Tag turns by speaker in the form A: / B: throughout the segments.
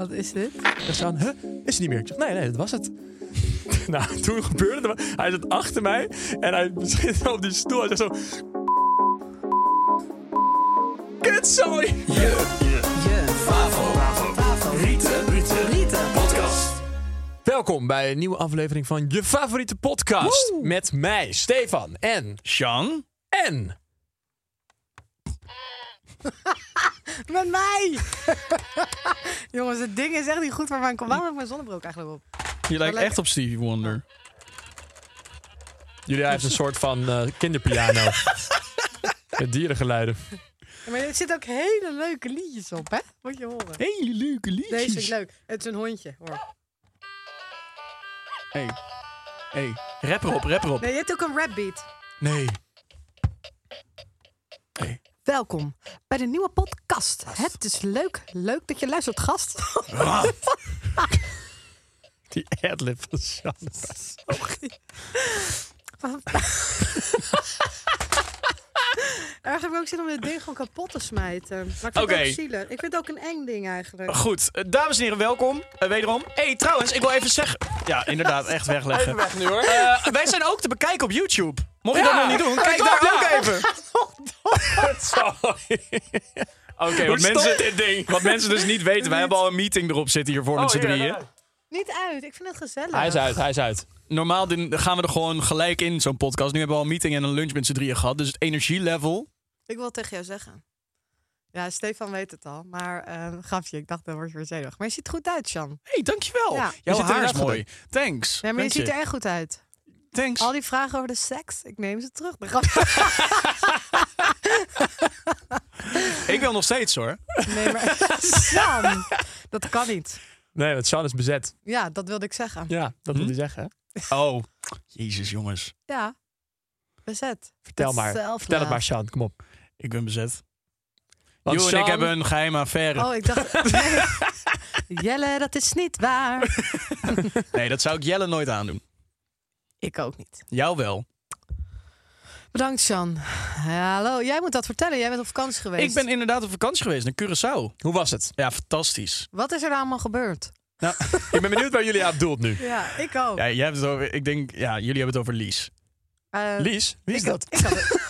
A: Wat is dit?
B: En Sjaan, huh? Is het niet meer? Ik zeg, nee, nee, dat was het. nou, toen gebeurde het. Hij zat achter mij en hij zit op die stoel. Hij zegt zo... Kut, sorry! Welkom bij een nieuwe aflevering van je favoriete podcast. Met mij, Stefan en...
C: Sean?
B: En...
A: Met mij! Jongens, het ding is echt niet goed voor mijn kom. Waarom heb ik mijn zonnebroek eigenlijk op?
C: Je lijkt
A: lekker.
C: echt op Stevie Wonder.
B: Jullie heeft een soort van eh, kinderpiano. Met dierengeluiden.
A: Ja, maar er zitten ook hele leuke liedjes op, hè? Moet je horen.
C: Hele leuke liedjes.
A: Deze is leuk. Het is een hondje, hoor.
C: Hey. Hey. Rapper op, rapper op.
A: Nee, je hebt ook een rapbeat.
C: Nee.
A: Welkom bij de nieuwe podcast. Het is leuk, leuk dat je luistert, gast.
C: Die adlib van Sean.
A: Erg heb ik ook zin om dit ding gewoon kapot te smijten. Maar ik vind het
C: Oké.
A: ook zielig. Ik vind het ook een eng ding eigenlijk.
C: Goed, eh, dames en heren, welkom. Eh, wederom. hey, trouwens, ik wil even zeggen... Ja, inderdaad, echt wegleggen. Even weg nu, hoor. wij zijn ook te bekijken op YouTube. Mocht je dat nog niet doen, kijk daar ook even.
B: Sorry.
C: Oké, wat, mensen, dit ding? wat mensen dus niet Oh, weten, wij hebben al een meeting erop zitten hiervoor met z'n drieën.
A: Niet uit, ik vind het gezellig.
B: Hij is uit, hij is uit.
C: Normaal din- gaan we er gewoon gelijk in, zo'n podcast. Nu hebben we al een meeting en een lunch met z'n drieën gehad. Dus het energielevel...
A: Ik wil het tegen jou zeggen. Ja, Stefan weet het al, maar ehm grapje, ik dacht dat wordt weer zenuwachtig. Maar je ziet er goed uit, Jan.
C: Hé, hey, dankjewel.
A: Ja.
B: Je
C: Jouw
B: ziet er
C: haar is
B: inderdaad
C: mooi. Thanks.
A: Nee, maar je
C: Dank
A: ziet er echt goed uit.
C: Thanks.
A: Al die vragen over de seks, ik neem ze terug. Nee, grapje.
C: Ik wil nog steeds hoor.
A: Nee, maar Jan, dat kan niet.
B: Nee, want Sean is bezet.
A: Ja, dat wilde ik zeggen.
B: Ja, dat
C: Hm?
B: wil hij zeggen. hè?
C: Oh, jezus jongens.
A: Ja, bezet.
B: Vertel
A: Dat
B: maar.
A: zelflove.
B: Vertel het maar, Sean. Kom op.
C: Ik ben bezet.
B: Want
C: Jo en
B: Sean-
C: ik hebben een geheime affaire.
A: Oh, ik dacht... Nee. Jelle, dat is niet waar.
C: Nee, dat zou ik Jelle nooit aandoen.
A: Ik ook niet.
C: Jou wel.
A: Bedankt, Jan. Hallo, jij moet dat vertellen. Jij bent op vakantie geweest.
C: Ik ben inderdaad op vakantie geweest naar Curaçao.
B: Hoe was het?
C: Ja, fantastisch.
A: Wat is er nou allemaal gebeurd?
C: Nou,
B: Ik ben benieuwd waar jullie aan doelt nu.
A: Ja, ik ook.
C: ja, jij hebt het over, ik denk, ja, jullie hebben het over Lies.
A: Eh,
B: Lies, wie is
A: ik-
B: dat?
A: ik had het-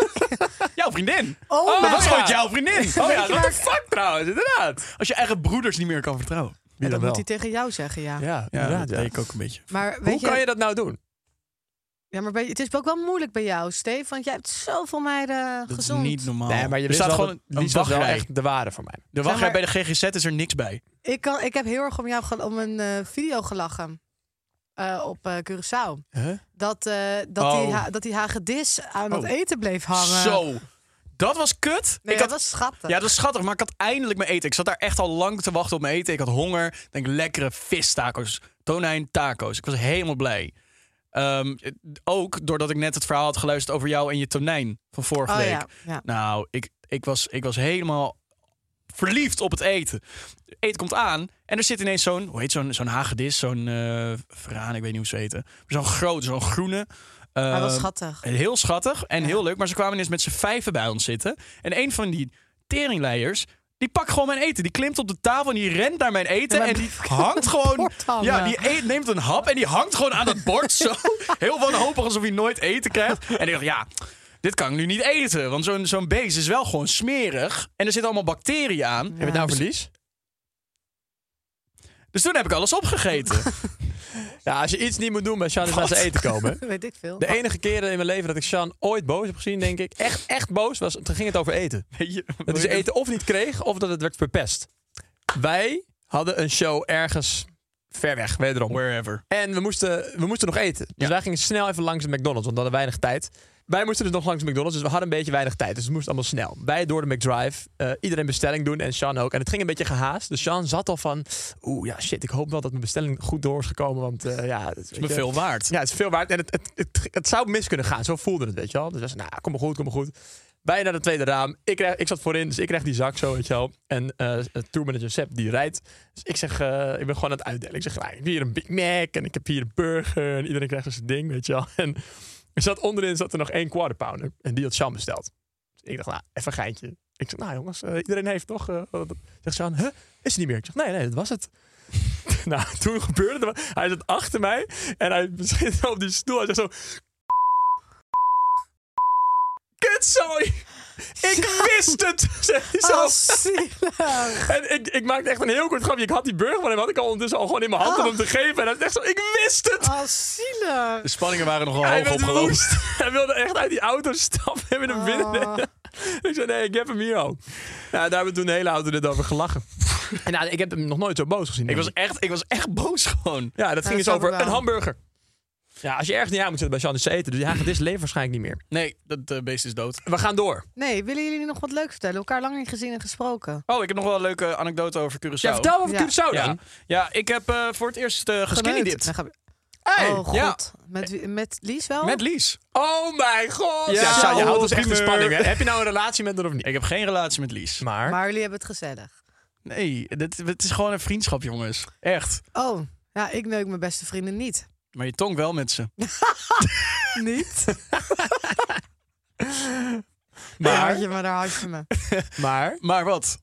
C: Jouw vriendin.
A: Oh,
C: dat
A: mijn
C: was
B: god.
C: gewoon jouw vriendin. Oh ja,
A: je
C: what
A: waar
C: the
A: ik-
C: fuck trouwens, inderdaad. Als je eigen broeders niet meer kan vertrouwen.
B: Wie
A: dat
B: dan
A: moet
B: wel?
A: hij tegen jou zeggen, ja.
B: Ja,
C: Ja,
B: inderdaad,
C: dat
B: ja.
C: deed ik ook een beetje.
A: Maar weet
B: Hoe kan je dat nou doen?
A: Ja, maar bij- het is ook wel moeilijk bij jou, Steve. Want jij hebt zoveel meiden
C: Dat
A: gezond.
C: is niet normaal.
B: Nee, maar je
C: Nou, er staat
B: wist wel
C: gewoon
B: dat
C: een, nou
B: Lies was wel
C: wachtrij.
B: echt de waarde voor mij.
C: De
A: Zeg
C: wachtrij
A: maar-
C: bij de GGZ is er niks bij.
A: ik, kan, ik heb heel erg om jou gel- om een eh, video gelachen. eh, op eh, Curaçao. Dat, eh, dat,
C: Oh.
A: die ha- dat die hagedis aan
C: Oh.
A: het eten bleef hangen.
C: Zo. Dat was kut.
A: Nee,
C: ik
A: dat
C: had,
A: was schattig.
C: Ja, dat is schattig, maar ik had eindelijk mijn eten. Ik zat daar echt al lang te wachten op mijn eten. Ik had honger. Ik Denk lekkere vistacos, tonijn tacos. Ik was helemaal blij. Ehm, eh, ook doordat ik net het verhaal had geluisterd over jou en je tonijn van vorige
A: Oh,
C: week.
A: ja, ja.
C: Nou, ik, ik, was, ik was helemaal verliefd op het eten. Eten komt aan en er zit ineens zo'n, hoe heet zo'n zo'n hagedis, zo'n eh veraan, ik weet niet hoe ze heten. Maar Zo'n groot, zo'n groene.
A: Hij was
C: ehm,
A: schattig.
C: Heel schattig en heel leuk. Maar ze kwamen eens met z'n vijven bij ons zitten. En een van die teringleiers, die pakt gewoon mijn eten. Die klimt op de tafel en die rent naar mijn eten.
A: Ja, maar
C: en die
A: blijf
C: hangt
A: het
C: gewoon...
A: bord hangen.
C: Ja, die eet, neemt een hap en die hangt gewoon aan het bord zo. Heel wanhopig alsof hij nooit eten krijgt. En ik dacht, ja... dit kan ik nu niet eten. Want zo'n zo'n beest is wel gewoon smerig. En er zitten allemaal bacteriën aan.
B: Heb je het nou verlies?
C: Dus toen heb ik alles opgegeten.
B: Ja, als je iets niet moet doen bij Sjan is naar zijn eten komen.
A: Weet ik veel.
B: De enige keren in mijn leven dat ik Sjan ooit boos heb gezien, denk ik, echt, echt boos was, toen ging het over eten. Dat hij zijn eten of niet kreeg, of dat het werd verpest. Wij hadden een show ergens ver weg, wederom.
C: Wherever.
B: En we moesten, we moesten nog eten. Dus
C: Ja.
B: wij gingen snel even langs de McDonald's, want we hadden weinig tijd. Wij moesten dus nog langs de McDonald's, dus we hadden een beetje weinig tijd. Dus het moest allemaal snel. Wij door de McDrive, eh, iedereen bestelling doen en Sean ook. En het ging een beetje gehaast. Dus Sean zat al van, oeh ja shit, ik hoop wel dat mijn bestelling goed door is gekomen. Want eh, ja, het is
C: me veel waard.
B: Ja, het is veel waard. En het, het, het, het zou mis kunnen gaan. Zo voelde het, weet je wel. Dus we zeiden, nou, kom maar goed, kom maar goed. Wij naar het tweede raam. Ik, krijg, ik zat voorin, dus ik krijg die zak zo, weet je wel. En eh tourmanager Sepp, die rijdt. Dus ik zeg, eh, ik ben gewoon aan het uitdelen. Ik zeg, nou, ik heb hier een Big Mac en ik heb hier een burger. En iedereen krijgt dus zijn ding, weet je wel. En er zat onderin zat er nog één quarter pounder. En die had Sean besteld. Dus ik dacht, nou, even een geintje. Ik zeg, nou jongens, eh, iedereen heeft toch... eh, wat- wat- zegt Sean, huh? Is het niet meer? Ik zeg, nee, nee, dat was het. nou, toen gebeurde het. Hij zat achter mij en hij zit op die stoel. Hij zegt zo... Kutzooi! Ik wist het! Zegt hij zo.
A: Oh, zielig.
B: En ik, ik maakte echt een heel kort grapje. Ik had die burger van hem, had ik al ondertussen al gewoon in mijn hand om hem te geven. En hij is echt zo, ik wist het!
A: Oh, zielig.
C: De spanningen waren nogal
B: hij
C: hoog
B: werd
C: opgelopen.
B: woest. Hij wilde echt uit die auto stappen en met hem
A: Oh.
B: binnen. ik zei, nee, ik heb hem hier al. Nou, daar hebben we toen de hele auto dit over gelachen. en nou, ik heb hem nog nooit zo boos gezien.
C: Ik was, echt, ik was echt boos gewoon.
B: Ja, dat ging
A: dat
B: dus
A: snap
B: over
A: ik wel.
B: een hamburger. Ja, als je ergens niet aan moet zitten bij Shannon eten, dus ja, het is leven waarschijnlijk niet meer.
C: Nee, dat eh, beest is dood.
B: We gaan door.
A: Nee, willen jullie nog wat leuks vertellen? Elkaar lang niet gezien en gesproken.
C: Oh, ik heb nog wel een leuke anekdote over Curaçao.
B: Ja, vertel over
A: Ja.
B: Curaçao
C: Ja,
B: dan.
C: ja ik heb eh, voor het eerst eh geskinny
A: Geneukt.
C: dipt.
A: Dan gaan we-
B: Hey,
A: Oh, god.
C: ja.
A: Met, wie- met Lies wel?
C: Met Lies.
B: Oh mijn god. Ja,
C: Ja,
B: Sjan,
A: oh,
B: je houdt ons echt
C: primeur.
B: in spanning. Hè? Heb je nou een relatie met haar of niet?
C: Ik heb geen relatie met Lies.
B: Maar,
A: maar jullie hebben het gezellig.
C: Nee, dit, het is gewoon een vriendschap, jongens. Echt.
A: Oh, ja, ik neuk mijn beste vrienden niet.
C: Maar je tong wel met ze.
A: Niet? Daar had
B: maar,
A: je me, daar had je me.
B: maar.
C: Maar wat?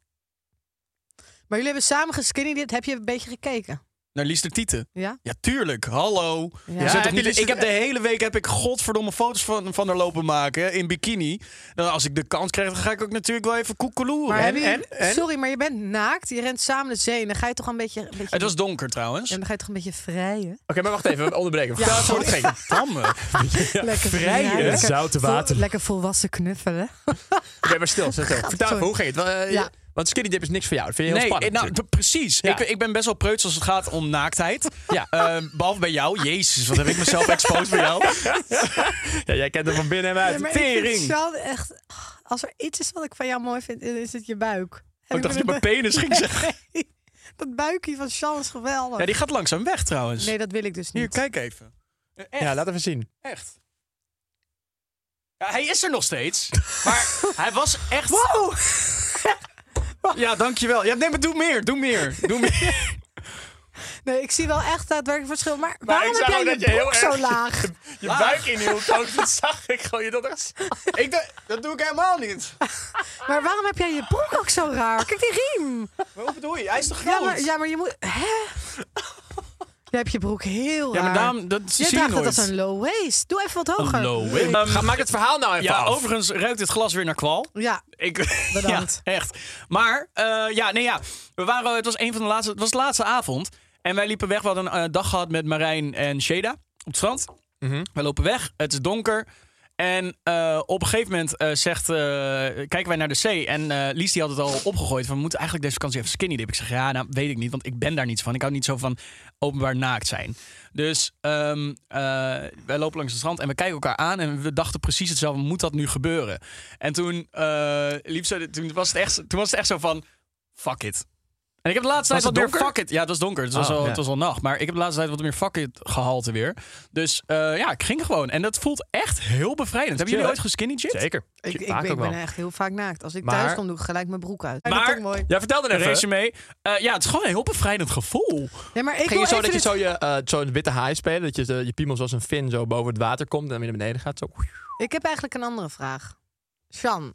A: Maar jullie hebben samen geskinny dit. Heb je een beetje gekeken?
C: Naar Lies de Tieten.
A: Ja?
C: Ja, tuurlijk. Hallo.
A: Ja.
C: Je
A: Ja,
C: zet
B: heb
C: toch niet-
B: je Lies de-
C: ik heb de hele week heb ik godverdomme foto's van, van haar lopen maken in bikini. Nou, als ik de kans krijg, dan ga ik ook natuurlijk wel even koekeloeren.
A: Maar
C: En-
A: hebben jullie-
C: en- en-
A: Sorry, maar je bent naakt. Je rent samen de zee. En dan ga je toch een beetje... Een beetje
C: Het was dus- donker trouwens.
A: Ja, dan ga je toch een beetje vrijen?
B: Oké, maar wacht even, we onderbreken. Vertel even hoe het ging.
C: Tamme.
A: lekker
B: vrijen?
A: lekker
B: Zoute
A: vol-
B: water.
A: lekker volwassen knuffelen.
B: Oké, maar stil, stil, stil. Vertel even,
A: sorry.
B: hoe ging het? Wa- eh,
A: Ja.
B: Want skinny dip is niks voor jou. Dat vind je heel
C: Nee,
B: spannend.
C: nou,
B: natuurlijk.
C: d- precies.
B: Ja.
C: Ik, ik ben best wel preuts als het gaat om naaktheid.
B: Ja.
C: Eh, behalve bij jou. Jezus, wat heb ik mezelf exposed bij jou.
B: ja, jij kent hem van binnen en uit.
A: Ja, maar ik vind
B: Tering.
A: Sjan echt... Als er iets is wat ik van jou mooi vind, dan is het je buik. Heb
C: Oh,
B: Oh,
C: Ik dacht dat je
A: met
C: mijn
A: een
C: penis ging zeggen.
A: bu- Dat buikje van Sjan is geweldig.
C: Ja, die gaat langzaam weg trouwens.
A: Nee, dat wil ik dus niet.
C: Hier, kijk even. Echt,
B: Ja, laat even zien.
C: echt. Ja, hij is er nog steeds. Maar hij was echt...
A: Wow!
C: Ja, dankjewel. Ja, nee, maar doe meer. Doe meer. Doe meer.
A: Nee, ik zie wel echt daadwerkelijk verschil. Maar, waarom
B: ik zag
A: heb jij
B: ook dat
A: je
B: je heel
A: broek
B: erg-
A: zo laag?
B: Je buik inhield ook, dat zag ik gewoon. Je dacht echt...
C: ik dacht, dat doe ik helemaal niet.
A: Maar waarom heb jij je broek ook zo raar? Kijk die riem.
C: Wat bedoel je? Hij is toch
A: Ja, maar, ja, maar je moet... Hè? Je hebt je broek heel raar.
C: Ja, maar daarom- dat zie
A: je
C: je
A: draagt
C: nooit.
A: het als een low waist. Doe even wat hoger.
B: Ga, maak het verhaal nou even
C: Ja,
B: af.
C: overigens ruikt dit glas weer naar kwal.
A: Ja,
C: Ik,
A: Bedankt.
C: Ja, echt. Maar, eh, ja, nee, ja. We waren, het was een van de laatste, het was de laatste avond. En wij liepen weg. We hadden een eh, dag gehad met Marijn en Sheda op het strand. We lopen weg. Het is donker. En eh, op een gegeven moment eh, zegt, eh, kijken wij naar de zee. En eh Lies die had het al opgegooid. Van, we moeten eigenlijk deze vakantie even skinny dip. Ik zeg, ja, nou weet ik niet. Want ik ben daar niet van. Ik hou niet zo van openbaar naakt zijn. Dus ehm, eh, wij lopen langs het strand en we kijken elkaar aan. En we dachten precies hetzelfde. Moet dat nu gebeuren? En toen, eh, liep ze, toen, was het echt, toen was het echt zo van, fuck it. En ik heb de laatste
B: Was
C: tijd
B: het
C: wat meer
B: donker?
C: fuck it. Ja, het was donker. Het was,
B: Oh,
C: al,
B: ja.
C: het was al nacht. Maar ik heb de laatste tijd wat meer fuck it gehalte weer. Dus eh, ja, ik ging gewoon. En dat voelt echt heel bevrijdend. Hebben jullie
B: Chill,
C: ooit geskinny dipped?
B: Zeker.
A: ik, ik,
B: Vaak
A: ben,
B: ook
A: ik ben
B: wel.
A: echt heel vaak naakt. Als ik
B: Maar-
A: thuis kom, doe ik gelijk mijn broek uit.
C: Maar-
A: dat is ook mooi.
B: Ja, vertel er
C: Een
B: even.
C: resume. Eh, ja, het is gewoon een heel bevrijdend gevoel.
A: Nee, maar ik
B: Ging
A: wil
B: je zo
A: even dit-
B: dat je zo je eh, zo'n witte haai spelen? Dat je de- je piemel zoals een fin zo boven het water komt en dan weer naar beneden gaat? Zo.
A: Ik heb eigenlijk een andere vraag. Sjan.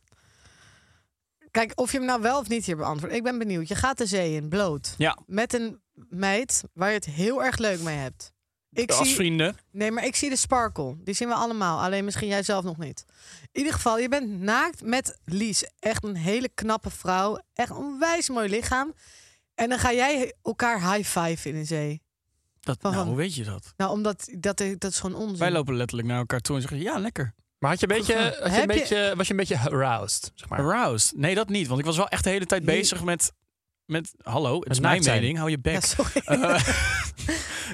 A: Kijk, of je hem nou wel of niet hier beantwoordt. Ik ben benieuwd. Je gaat de zee in, bloot.
C: Ja.
A: Met een meid waar je het heel erg leuk mee hebt. Ik
C: Als
A: zie,
C: vrienden.
A: nee, maar ik zie de sparkle. Die zien we allemaal. Alleen misschien jij zelf nog niet. In ieder geval, je bent naakt met Lies. Echt een hele knappe vrouw. Echt een onwijs mooi lichaam. En dan ga jij elkaar high five in de zee.
C: Dat,
A: Waarom?
C: nou, hoe weet je dat?
A: Nou, omdat dat, dat is gewoon onzin.
C: Wij lopen letterlijk naar elkaar toe en zeggen: Ja, lekker.
B: Maar had je een beetje,
A: gedaan.
B: had je een
A: Heb je-
B: beetje, was je een beetje aroused, zeg maar?
C: Aroused. Nee, dat niet. Want ik was wel echt de hele tijd
A: Nee.
C: bezig met. met Hallo, het is
B: naakt
C: mijn
B: zijn.
C: mening. Hou je bek.
A: ja, sorry.
C: Eh,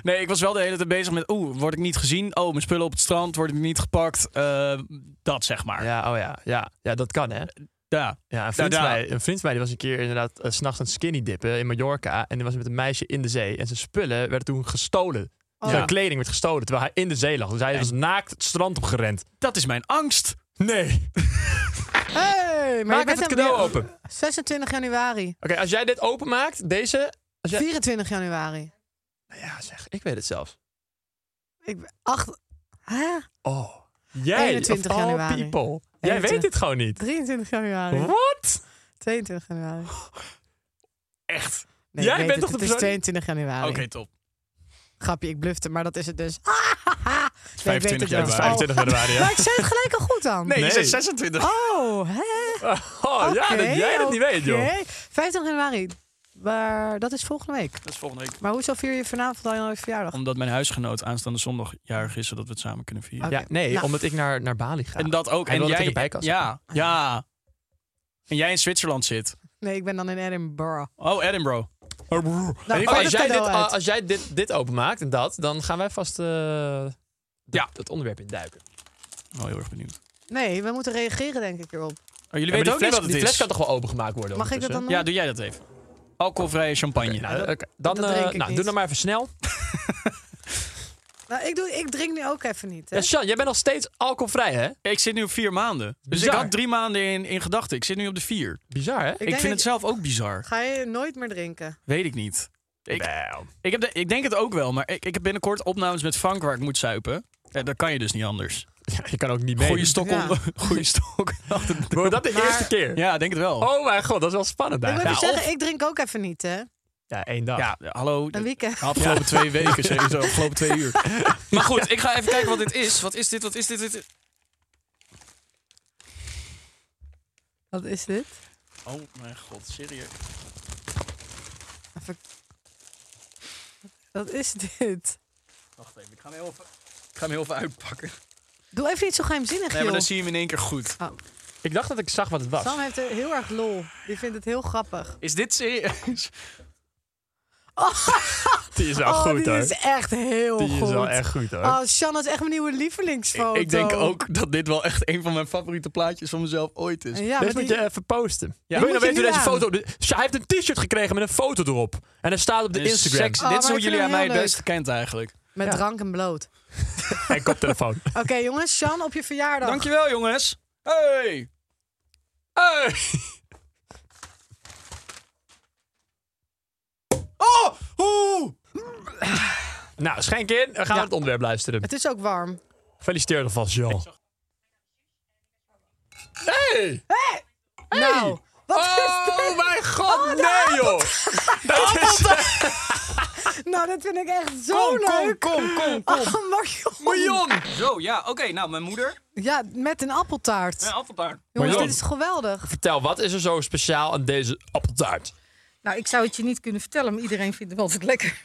C: nee, ik was wel de hele tijd bezig met. Oeh, word ik niet gezien? Oh, mijn spullen op het strand worden niet gepakt. Eh, dat zeg maar. Ja.
B: Ja, oh ja, ja. Ja, dat kan, hè? Ja, een vriend,
C: Nou,
B: van
C: daar-
B: mij, een vriend van mij die was een keer inderdaad eh, 's s'nachts aan het skinny dippen in Mallorca. En die was met een meisje in de zee. En zijn spullen werden toen gestolen.
A: Oh.
B: Zijn kleding werd gestolen terwijl hij in de zee lag. Dus hij was naakt het strand opgerend.
C: Dat is mijn angst.
B: Nee.
A: Hey, maar je
B: Maak
A: bent
B: even het
A: hem
B: cadeau
A: weer-
B: open. Oké,
A: 26 januari.
B: als jij dit openmaakt, deze... Als jij...
A: 24 januari.
B: Ja, zeg, ik weet het zelf.
A: Ik ben acht. Hè?
B: Oh. Jij,
A: 21
B: of all
A: januari.
B: people. Jij
A: 21.
B: weet dit gewoon niet.
A: 23 januari.
B: Wat?
A: 22 januari.
C: Echt.
A: Nee,
B: Jij
A: ik weet
B: bent
A: het,
B: toch
A: het
B: de
A: is
B: persoon-
A: 22 januari.
C: Oké, top.
A: Grapje, ik blufte, maar dat is het dus. Nee, ik weet
C: 25
A: het wel.
B: Ja, dat is
C: Oh.
B: 25 januari,
A: Maar
B: ja.
A: ik zei het gelijk al goed dan.
C: Nee,
B: Nee.
C: je zei 26.
A: Oh, hè?
B: Oh, ja, dat
A: Oké,
B: jij dat niet weet, joh.
A: oké. 25 januari. Maar dat is volgende week.
C: Dat is volgende week.
A: Maar hoezo vier je vanavond al je verjaardag?
C: Omdat mijn huisgenoot aanstaande zondag jarig is, zodat we het samen kunnen vieren.
A: Oké.
B: Ja, nee,
A: Nou.
B: omdat ik naar, naar Bali ga.
C: En dat ook.
B: Hij
C: en
B: wil dat
C: jij
B: ik erbij kan
C: Ja, ja. En jij in Zwitserland zit.
A: Nee, ik ben dan in Edinburgh.
C: Oh, Edinburgh.
A: Nou,
B: Maar
A: gooi
B: Oh, als
A: dat
B: jij, dit,
A: cadeau uit.
B: als jij dit, dit openmaakt en dat, dan gaan wij vast eh,
C: Ja.
B: het onderwerp in duiken.
C: Oh, heel erg benieuwd.
A: Nee, we moeten reageren denk ik hierop.
C: Oh, jullie weten ook niet wat het
B: Die fles
C: is.
B: kan toch wel opengemaakt worden?
A: Mag ik dat dan
B: ondertussen?
A: nog?
C: Ja, doe jij dat even. Alcoholvrije champagne.
B: Oké, nou, oké. Dan,
A: dat
B: eh,
A: drink ik
B: nou,
A: niet.
B: doe nou maar even snel.
A: Nou, ik, doe, ik drink nu ook even niet. Hè?
B: Ja, Sjan, jij bent nog steeds alcoholvrij, hè?
C: eh, Ik zit nu op vier maanden. Dus
B: Bizar.
C: ik had drie maanden in, in gedachten. Ik zit nu op de vier. Ik,
B: Bizar, hè?
A: denk
C: vind
A: dat
C: het
A: je-
C: zelf ook bizar.
A: Ga je nooit meer drinken?
C: Weet ik niet. Ik, ik, heb de- ik denk het ook wel, maar ik, ik heb binnenkort opnames met Frank waar ik moet zuipen. Ja, dat kan je dus niet anders.
B: Ja, je kan ook niet mee.
C: Goeie stok,
A: Ja.
C: om, goeie stok achter de deur.
B: Wordt dat de eerste keer?
C: Ja, ik denk het wel.
B: Oh mijn god, dat is wel spannend
A: Ik wil even
B: eigenlijk.
A: zeggen, ik drink ook even niet, hè?
B: Ja, één dag.
C: Ja, hallo.
A: Een weekend.
C: Afgelopen twee weken, sowieso. Afgelopen twee uur. maar goed, ik ga even kijken wat dit is. Wat is dit? Wat is dit? dit?
A: Wat is dit?
C: Oh mijn god, serieus.
A: Even- Wat is dit?
C: Wacht even, ik ga hem heel even, ik ga hem heel even uitpakken.
A: Doe even niet zo geheimzinnig,
C: Nee, maar dan
A: joh. Oh.
C: zie je hem in één keer goed.
B: Ik dacht dat ik zag wat het was.
A: Sam heeft er heel erg lol. Die vindt het heel grappig.
C: Is dit serieus?
B: Die is wel
A: oh,
B: goed,
A: dit
B: hoor.
A: is echt heel
B: Die
A: goed.
B: is wel echt goed, hoor.
A: Oh, Shan, dat is echt mijn nieuwe lievelingsfoto.
C: Ik denk ook dat dit wel echt een van mijn favoriete plaatjes van mezelf ooit is.
A: Ja,
B: Dit
A: maar
B: moet
A: die-
B: je even posten. Wil je
C: Ja.
A: Die
B: nou
A: moet
B: weten
A: je
B: hoe deze
A: nu
B: foto... Hij heeft een t-shirt gekregen met een foto erop. En hij staat op de
C: Dit is
B: Instagram.
C: seks-
A: Oh,
C: dit is
A: maar
C: hoe
A: ik vind
C: jullie
A: hem
C: aan mij
A: heel
C: het beste
A: leuk.
C: kent eigenlijk.
A: Met
B: Ja.
A: drank en bloot.
B: En koptelefoon.
A: Oké, jongens, Shan, op je verjaardag.
C: Dankjewel jongens. Hey! Hey! Oh! Oeh!
B: nou, schenk in. We gaan het onderwerp luisteren.
A: Het is ook warm.
B: Gefeliciteerd alvast, Jan. Hey!
A: Nou, wat is nou,
B: Oh mijn god, nee joh! Dat is...
A: dit? Nou, dat vind ik echt zo
C: Kom, kom,
A: leuk.
C: kom, kom, kom.
A: Oh, Marion.
B: Miljoen!
C: Zo, ja, oké. nou, mijn moeder.
A: Ja, met een appeltaart.
C: Mijn appeltaart.
A: Jongens,
B: Marion.
A: dit is geweldig.
B: Vertel, wat is er zo speciaal aan deze appeltaart?
D: Nou, ik zou het je niet kunnen vertellen, maar iedereen vindt het altijd lekker.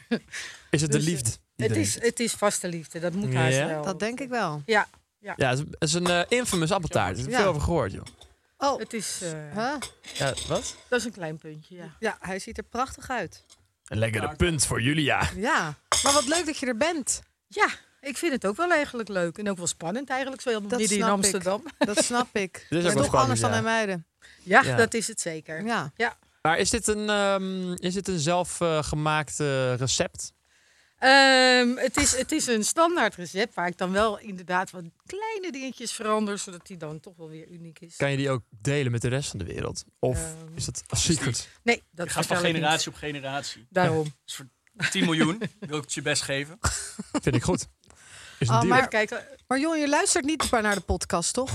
B: Is het de
D: Dus, eh,
B: liefde? die
D: het,
B: erin
D: is,
B: zit?
D: het is vaste liefde, dat moet haast
B: Ja?
D: wel.
A: Dat denk ik wel.
D: Ja,
B: Ja, het is- het is een eh, infamous appeltaart. Daar heb ik
A: Ja.
B: veel over gehoord, joh.
A: Oh,
D: het is, eh,
A: huh?
B: Ja, wat?
D: dat is een klein puntje, ja.
A: ja, hij ziet er prachtig uit.
B: Een lekkere punt voor Julia.
A: Ja, maar wat leuk dat je er bent.
D: Ja, ik vind het ook wel eigenlijk leuk en ook wel spannend eigenlijk, zo helemaal
A: Dat
D: midden in
A: snap ik.
D: Amsterdam.
A: Dat snap ik.
B: wel
A: Dat is toch
B: spannend,
A: anders dan
B: ja.
A: in Muiden.
D: Ja,
B: Ja.
D: dat is het zeker.
A: Ja.
D: Ja.
B: Maar is dit een, ehm, is dit een zelfgemaakt recept?
D: Ehm, het, is, het is een standaard recept waar ik dan wel inderdaad wat kleine dingetjes verander, zodat die dan toch wel weer uniek is.
B: Kan je die ook delen met de rest van de wereld? Of
D: Ehm.
B: is dat een secret?
D: Nee, dat
C: Het gaat van
D: vertel ik
C: generatie
D: niet.
C: op generatie.
D: Daarom.
C: Dus voor 10 miljoen wil ik het je best geven.
B: Vind ik goed. Is een
A: Oh,
B: deal.
A: maar-
D: Even kijken.
A: Maar joh, je luistert niet maar naar de podcast, toch?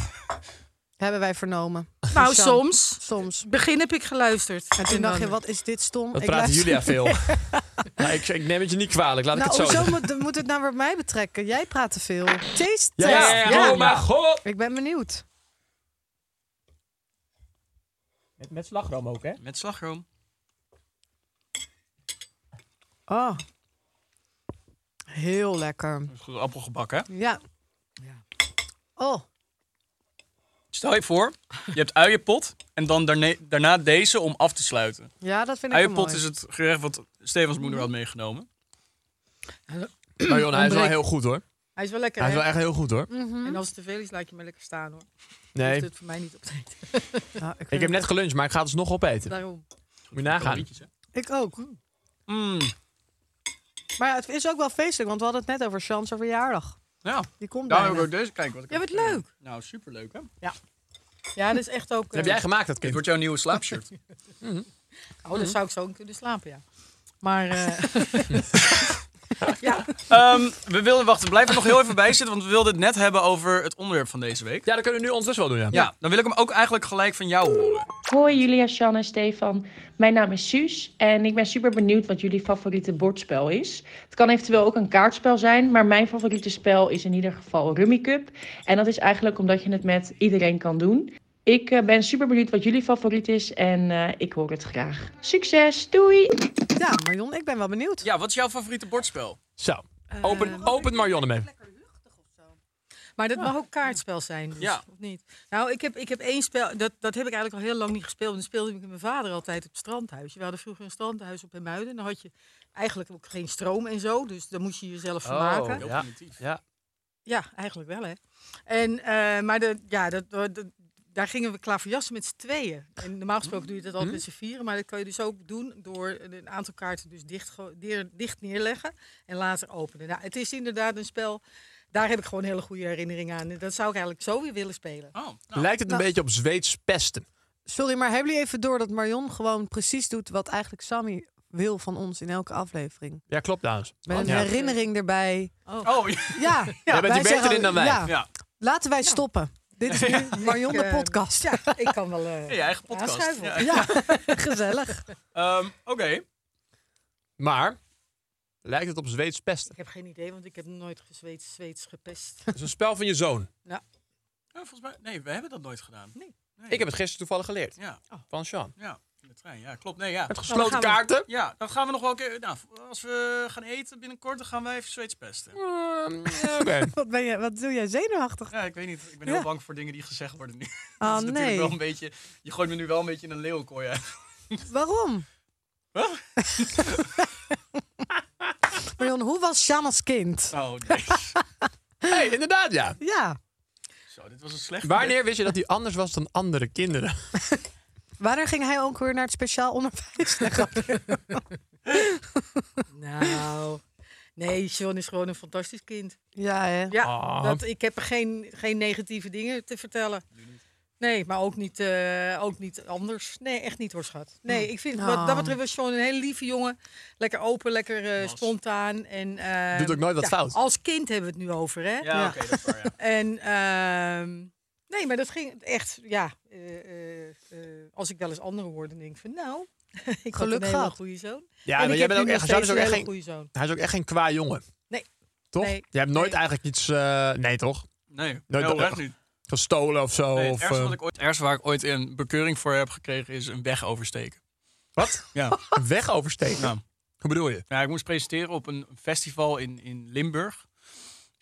A: Hebben wij vernomen.
D: Nou,
A: Suzanne.
D: soms.
A: Soms.
D: Begin heb ik geluisterd.
A: En toen dacht je, wat is dit stom?
B: Dat
A: Ik
B: praten
A: luister-
B: Julia veel. Maar Nou, ik, ik neem het je niet kwalijk, laat ik
A: Nou,
B: het zo
A: hoezo
B: zeggen.
A: moet, moet het nou weer op mij betrekken? Jij praat te veel. Taste
B: Ja,
A: test.
B: ja, ja, oh mijn god.
A: Ik ben benieuwd.
B: Met, slagroom ook, hè?
C: Met slagroom.
A: Oh. Heel lekker.
C: Goed appelgebak, hè?
A: Ja. Oh,
C: Stel je voor, je hebt uienpot en dan daarna, daarna deze om af te sluiten.
A: ja, dat vind ik wel
C: Uienpot
A: mooi.
C: is het gerecht wat Stefans moeder had meegenomen.
B: Maar Jon, Nou, hij is wel heel goed, hoor.
D: Hij is wel lekker,
B: Hij is
D: hè?
B: wel echt heel goed, hoor.
D: En als het te veel is, laat je me lekker staan, hoor. Je
B: Nee,
D: hoeft het voor mij niet op te eten.
A: Ja, ik,
B: ik heb net geluncht, maar ik ga het dus Nou, nog opeten.
D: Daarom.
B: Moet je nagaan.
C: Rietjes, hè?
A: ik ook.
C: Mm,
A: Maar het is ook wel feestelijk, want we hadden het net over Sean's verjaardag.
C: ja,
A: Die komt
C: daar heb Nou, ik
A: bijna.
C: ook deze. Kijk wat ik
D: Ja,
C: heb
D: wat
C: gekregen.
D: leuk.
C: Nou, superleuk, hè?
D: Ja, dat is echt ook...
B: Dat heb
D: eh,
B: jij gemaakt, dat
C: Dit
B: kind.
C: wordt jouw nieuwe slaapshirt.
D: Oh,
A: Mhm.
D: dan zou ik zo kunnen slapen, ja. Maar eh,
C: Ehm, we wilden, wachten, blijf er nog heel even bij zitten, want we wilden het net hebben over het onderwerp van deze week.
B: Ja, dat kunnen we nu ons dus wel doen, ja.
C: Ja, dan wil ik hem ook eigenlijk gelijk van jou horen.
E: Hoi Julia, Sjan en Stefan. Mijn naam is Suus en ik ben super benieuwd wat jullie favoriete bordspel is. Het kan eventueel ook een kaartspel zijn, maar mijn favoriete spel is in ieder geval Rummy Cup. En dat is eigenlijk omdat je het met iedereen kan doen. Ik eh, ben super benieuwd wat jullie favoriet is en eh, ik hoor het graag. Succes, doei!
A: Ja, Marion, ik ben wel benieuwd.
C: Ja, wat is jouw favoriete bordspel?
B: Zo, open, open Marion ermee.
D: maar dat mag ook kaartspel zijn, dus,
C: Ja.
D: of niet? Nou, ik heb, ik heb één spel... Dat, dat heb ik eigenlijk al heel lang niet gespeeld. want Dat speelde ik met mijn vader altijd op het strandhuisje. We hadden vroeger een strandhuis op Hemuiden. En dan had je eigenlijk ook geen stroom en zo. Dus dan moest je jezelf vermaken.
B: Oh, ja. ja.
D: Ja, eigenlijk wel, hè. En, eh, maar de, ja, dat, dat- dat- daar gingen we klaverjassen met z'n tweeën. En normaal gesproken doe je dat
C: Mhm.
D: altijd met z'n vieren. Maar dat kan je dus ook doen door een aantal kaarten dus dicht, ge- deer- dicht neerleggen. En later openen. Nou, het is inderdaad een spel... Daar heb ik gewoon hele goede herinneringen aan. En Dat zou ik eigenlijk zo weer willen spelen.
C: Oh, nou,
B: Lijkt het een beetje op Zweeds pesten.
A: Sorry, maar hebben jullie even door dat Marion gewoon precies doet wat eigenlijk Sammy wil van ons in elke aflevering?
B: Ja, klopt, dames.
A: Met een
B: Ja.
A: herinnering erbij.
C: oh, ja.
A: Ja,
B: Jij bent
A: wij
B: hier beter
A: zeggen-
B: in dan wij.
A: Ja,
C: Ja.
A: laten wij stoppen. Dit is nu Marion de
D: eh,
A: podcast. Ja,
D: Ik kan wel... eh,
C: Ja, je eigen podcast.
D: aanschuiven.
A: ja
C: Ja.
A: gezellig.
C: Ehm, Oké.
B: Maar, lijkt het op Zweeds pesten?
D: Ik heb geen idee, want ik heb nooit gezweet, Zweeds gepest.
B: Dat is een spel van je zoon.
C: Ja, volgens mij, nee, we hebben dat nooit gedaan. Nee.
B: Ik heb het gisteren toevallig geleerd.
C: Ja,
B: Van Sean.
C: ja, in de trein. Ja, klopt. Nee, ja.
B: Met gesloten
D: gaan we-
B: kaarten.
C: Ja, dan gaan we nog wel een keer... Nou, als we gaan eten binnenkort, dan gaan we even Zweeds pesten.
B: Mm, Oké.
A: Wat, ben je, wat doe jij zenuwachtig?
C: Ja, ik weet niet. Ik ben
A: Ja.
C: heel bang voor dingen die gezegd worden nu.
A: Oh
C: dat is natuurlijk
A: nee,
C: wel een beetje... Je gooit me nu wel een beetje in een leeuwenkooi uit.
A: waarom? Marion, hoe was Sjaan als kind?
C: Oh, nee.
B: hey, inderdaad, ja.
A: Ja,
C: Zo, dit was een slechte...
B: Wanneer wist je dat hij anders was dan andere kinderen?
A: wanneer ging hij ook weer naar het speciaal onderwijs?
D: Nou... Nee, John is gewoon een fantastisch kind.
A: Ja, hè?
D: Ja,
C: Oh,
B: Ah.
D: dat, ik heb er geen, geen negatieve dingen te vertellen. Nee, maar ook niet, eh, ook niet anders. Nee, echt niet hoor, schat. Nee,
B: Hm.
D: ik vind wat dat
A: Nou.
D: betreft was Sean een hele lieve jongen. Lekker open, lekker eh, spontaan. En, eh,
B: Doet ook nooit wat
D: ja,
B: fout.
D: Als kind hebben we het nu over, hè?
C: Ja, oké, dat is waar, ja.
D: En ehm, nee, maar dat ging echt, ja. eh, eh, eh, als ik wel eens andere woorden denk ik van nou, ik had een
A: Geluk
D: hele
A: gehad.
D: goede zoon.
B: Ja,
D: en
B: maar
D: ik
B: jij
D: heb
B: bent ook
D: nu nog
B: echt, Sean is
D: steeds
B: ook
D: een
B: echt
D: hele
B: geen,
D: goede zoon.
B: hij is ook echt geen kwa jongen.
D: Nee.
B: Toch?
D: Nee.
B: Jij hebt nooit
D: Nee.
B: eigenlijk iets... eh, nee, toch?
C: Nee,
B: Nou, dat-
C: nee oprecht niet.
B: Gestolen of zo?
C: Nee, het,
B: of,
C: ergste
B: eh,
C: wat ik ooit, het ergste waar ik ooit een bekeuring voor heb gekregen is een weg oversteken.
B: Wat?
C: Ja. Nou.
B: Een weg oversteken?
C: ja.
B: Hoe bedoel je?
C: Ja, Nou, ik moest presenteren op een festival in, in Limburg.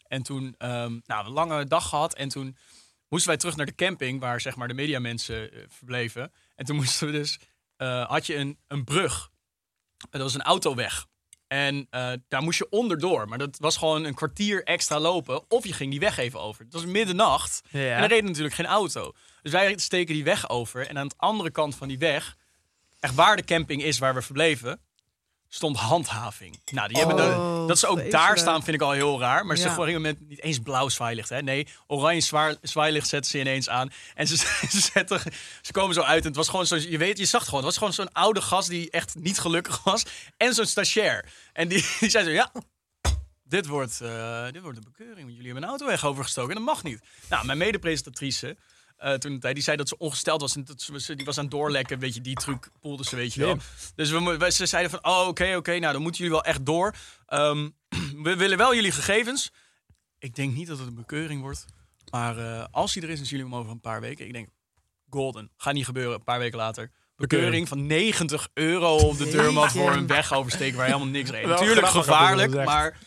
C: En toen, ehm nou, een lange dag gehad. En toen moesten wij terug naar de camping waar, zeg maar, de mediamensen eh, verbleven. En toen moesten we dus, eh, had je een, een brug. En Dat was een autoweg. En eh, daar moest je onderdoor. Maar dat was gewoon een kwartier extra lopen. Of je ging die weg even over. Het was middernacht.
B: Ja.
C: En er reed natuurlijk geen auto. Dus wij steken die weg over. En aan de andere kant van die weg, echt waar de camping is waar we verbleven, stond handhaving. Nou, die hebben de, dat ze ook daar
A: vreselijk.
C: staan vind ik al heel raar. Maar ze
D: Ja.
C: gingen met niet eens blauw zwaailicht. Hè? Nee, oranje zwaar- zwaailicht zetten ze ineens aan. En ze, ze, zetten, ze komen zo uit. En het was gewoon zo, je weet, je zag het gewoon. Het was gewoon zo'n oude gast die echt niet gelukkig was. En zo'n stagiair. En die, die zei zo, ja, dit wordt, eh, dit wordt een bekeuring, want jullie hebben een auto weg overgestoken en dat mag niet. Nou, mijn medepresentatrice, eh, toen de tijd. Die zei dat ze ongesteld was en dat ze, ze- die was aan het doorlekken. Weet je, die truc poelde ze, weet je wel. Dus we, mo- wij- ze zeiden van, oh, oké, oké, nou, dan moeten jullie wel echt door. Ehm, we willen wel jullie gegevens. Ik denk niet dat het een bekeuring wordt. Maar eh, als die er is, dan zien jullie hem over een paar weken. Ik denk, golden. Gaat niet gebeuren, een paar weken later. Bekeuring van 90 euro op de deurmat voor een weg oversteken waar helemaal niks reed.
B: Wel
C: Natuurlijk
B: grappig
C: gevaarlijk,
B: dat je dat
C: maar...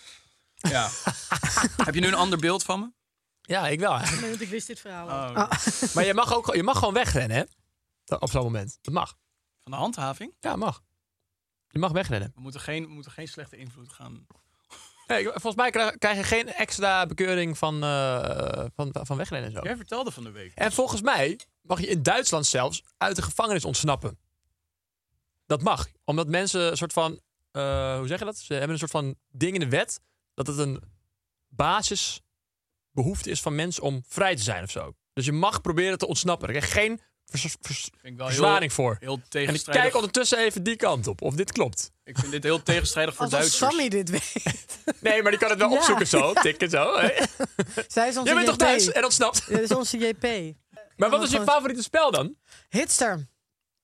C: Ja. Heb je nu een ander beeld van me?
B: Ja, ik wel. eigenlijk.
D: Nee, want ik wist dit verhaal. Ah. al.
C: Oh,
B: Maar je mag, ook, je mag gewoon wegrennen, hè? Op zo'n moment. Dat mag.
C: Van de handhaving?
B: Ja, mag. Je mag wegrennen.
C: We moeten geen, we moeten geen slechte invloed gaan.
B: Nee, ik- volgens mij krijg, krijg je geen extra bekeuring van, eh, van, van wegrennen en zo.
C: Jij vertelde van de week.
B: En volgens mij mag je in Duitsland zelfs uit de gevangenis ontsnappen. Dat mag. Omdat mensen een soort van... eh, hoe zeg je dat? Ze hebben een soort van ding in de wet... dat het een basisbehoefte is van mensen om vrij te zijn of zo. Dus je mag proberen te ontsnappen. Daar krijg je geen vers- vers-
C: Vind ik wel
B: verzwaring voor.
C: Heel
B: En ik kijk
C: tegenstrijdig. Ik,
B: ondertussen even die kant op, of dit klopt.
C: vind dit heel tegenstrijdig voor
A: Alsof
C: Duitsers.
A: Sammy dit weet.
B: Nee, maar die kan het wel
A: Ja.
B: opzoeken zo, tikken zo. hè.
A: Zij is onze
B: Jij bent toch
A: JP.
B: Duits en ontsnapt?
A: Dit is onze JP.
B: Maar wat is je
A: Gewoon-
B: favoriete spel dan?
A: Hitster.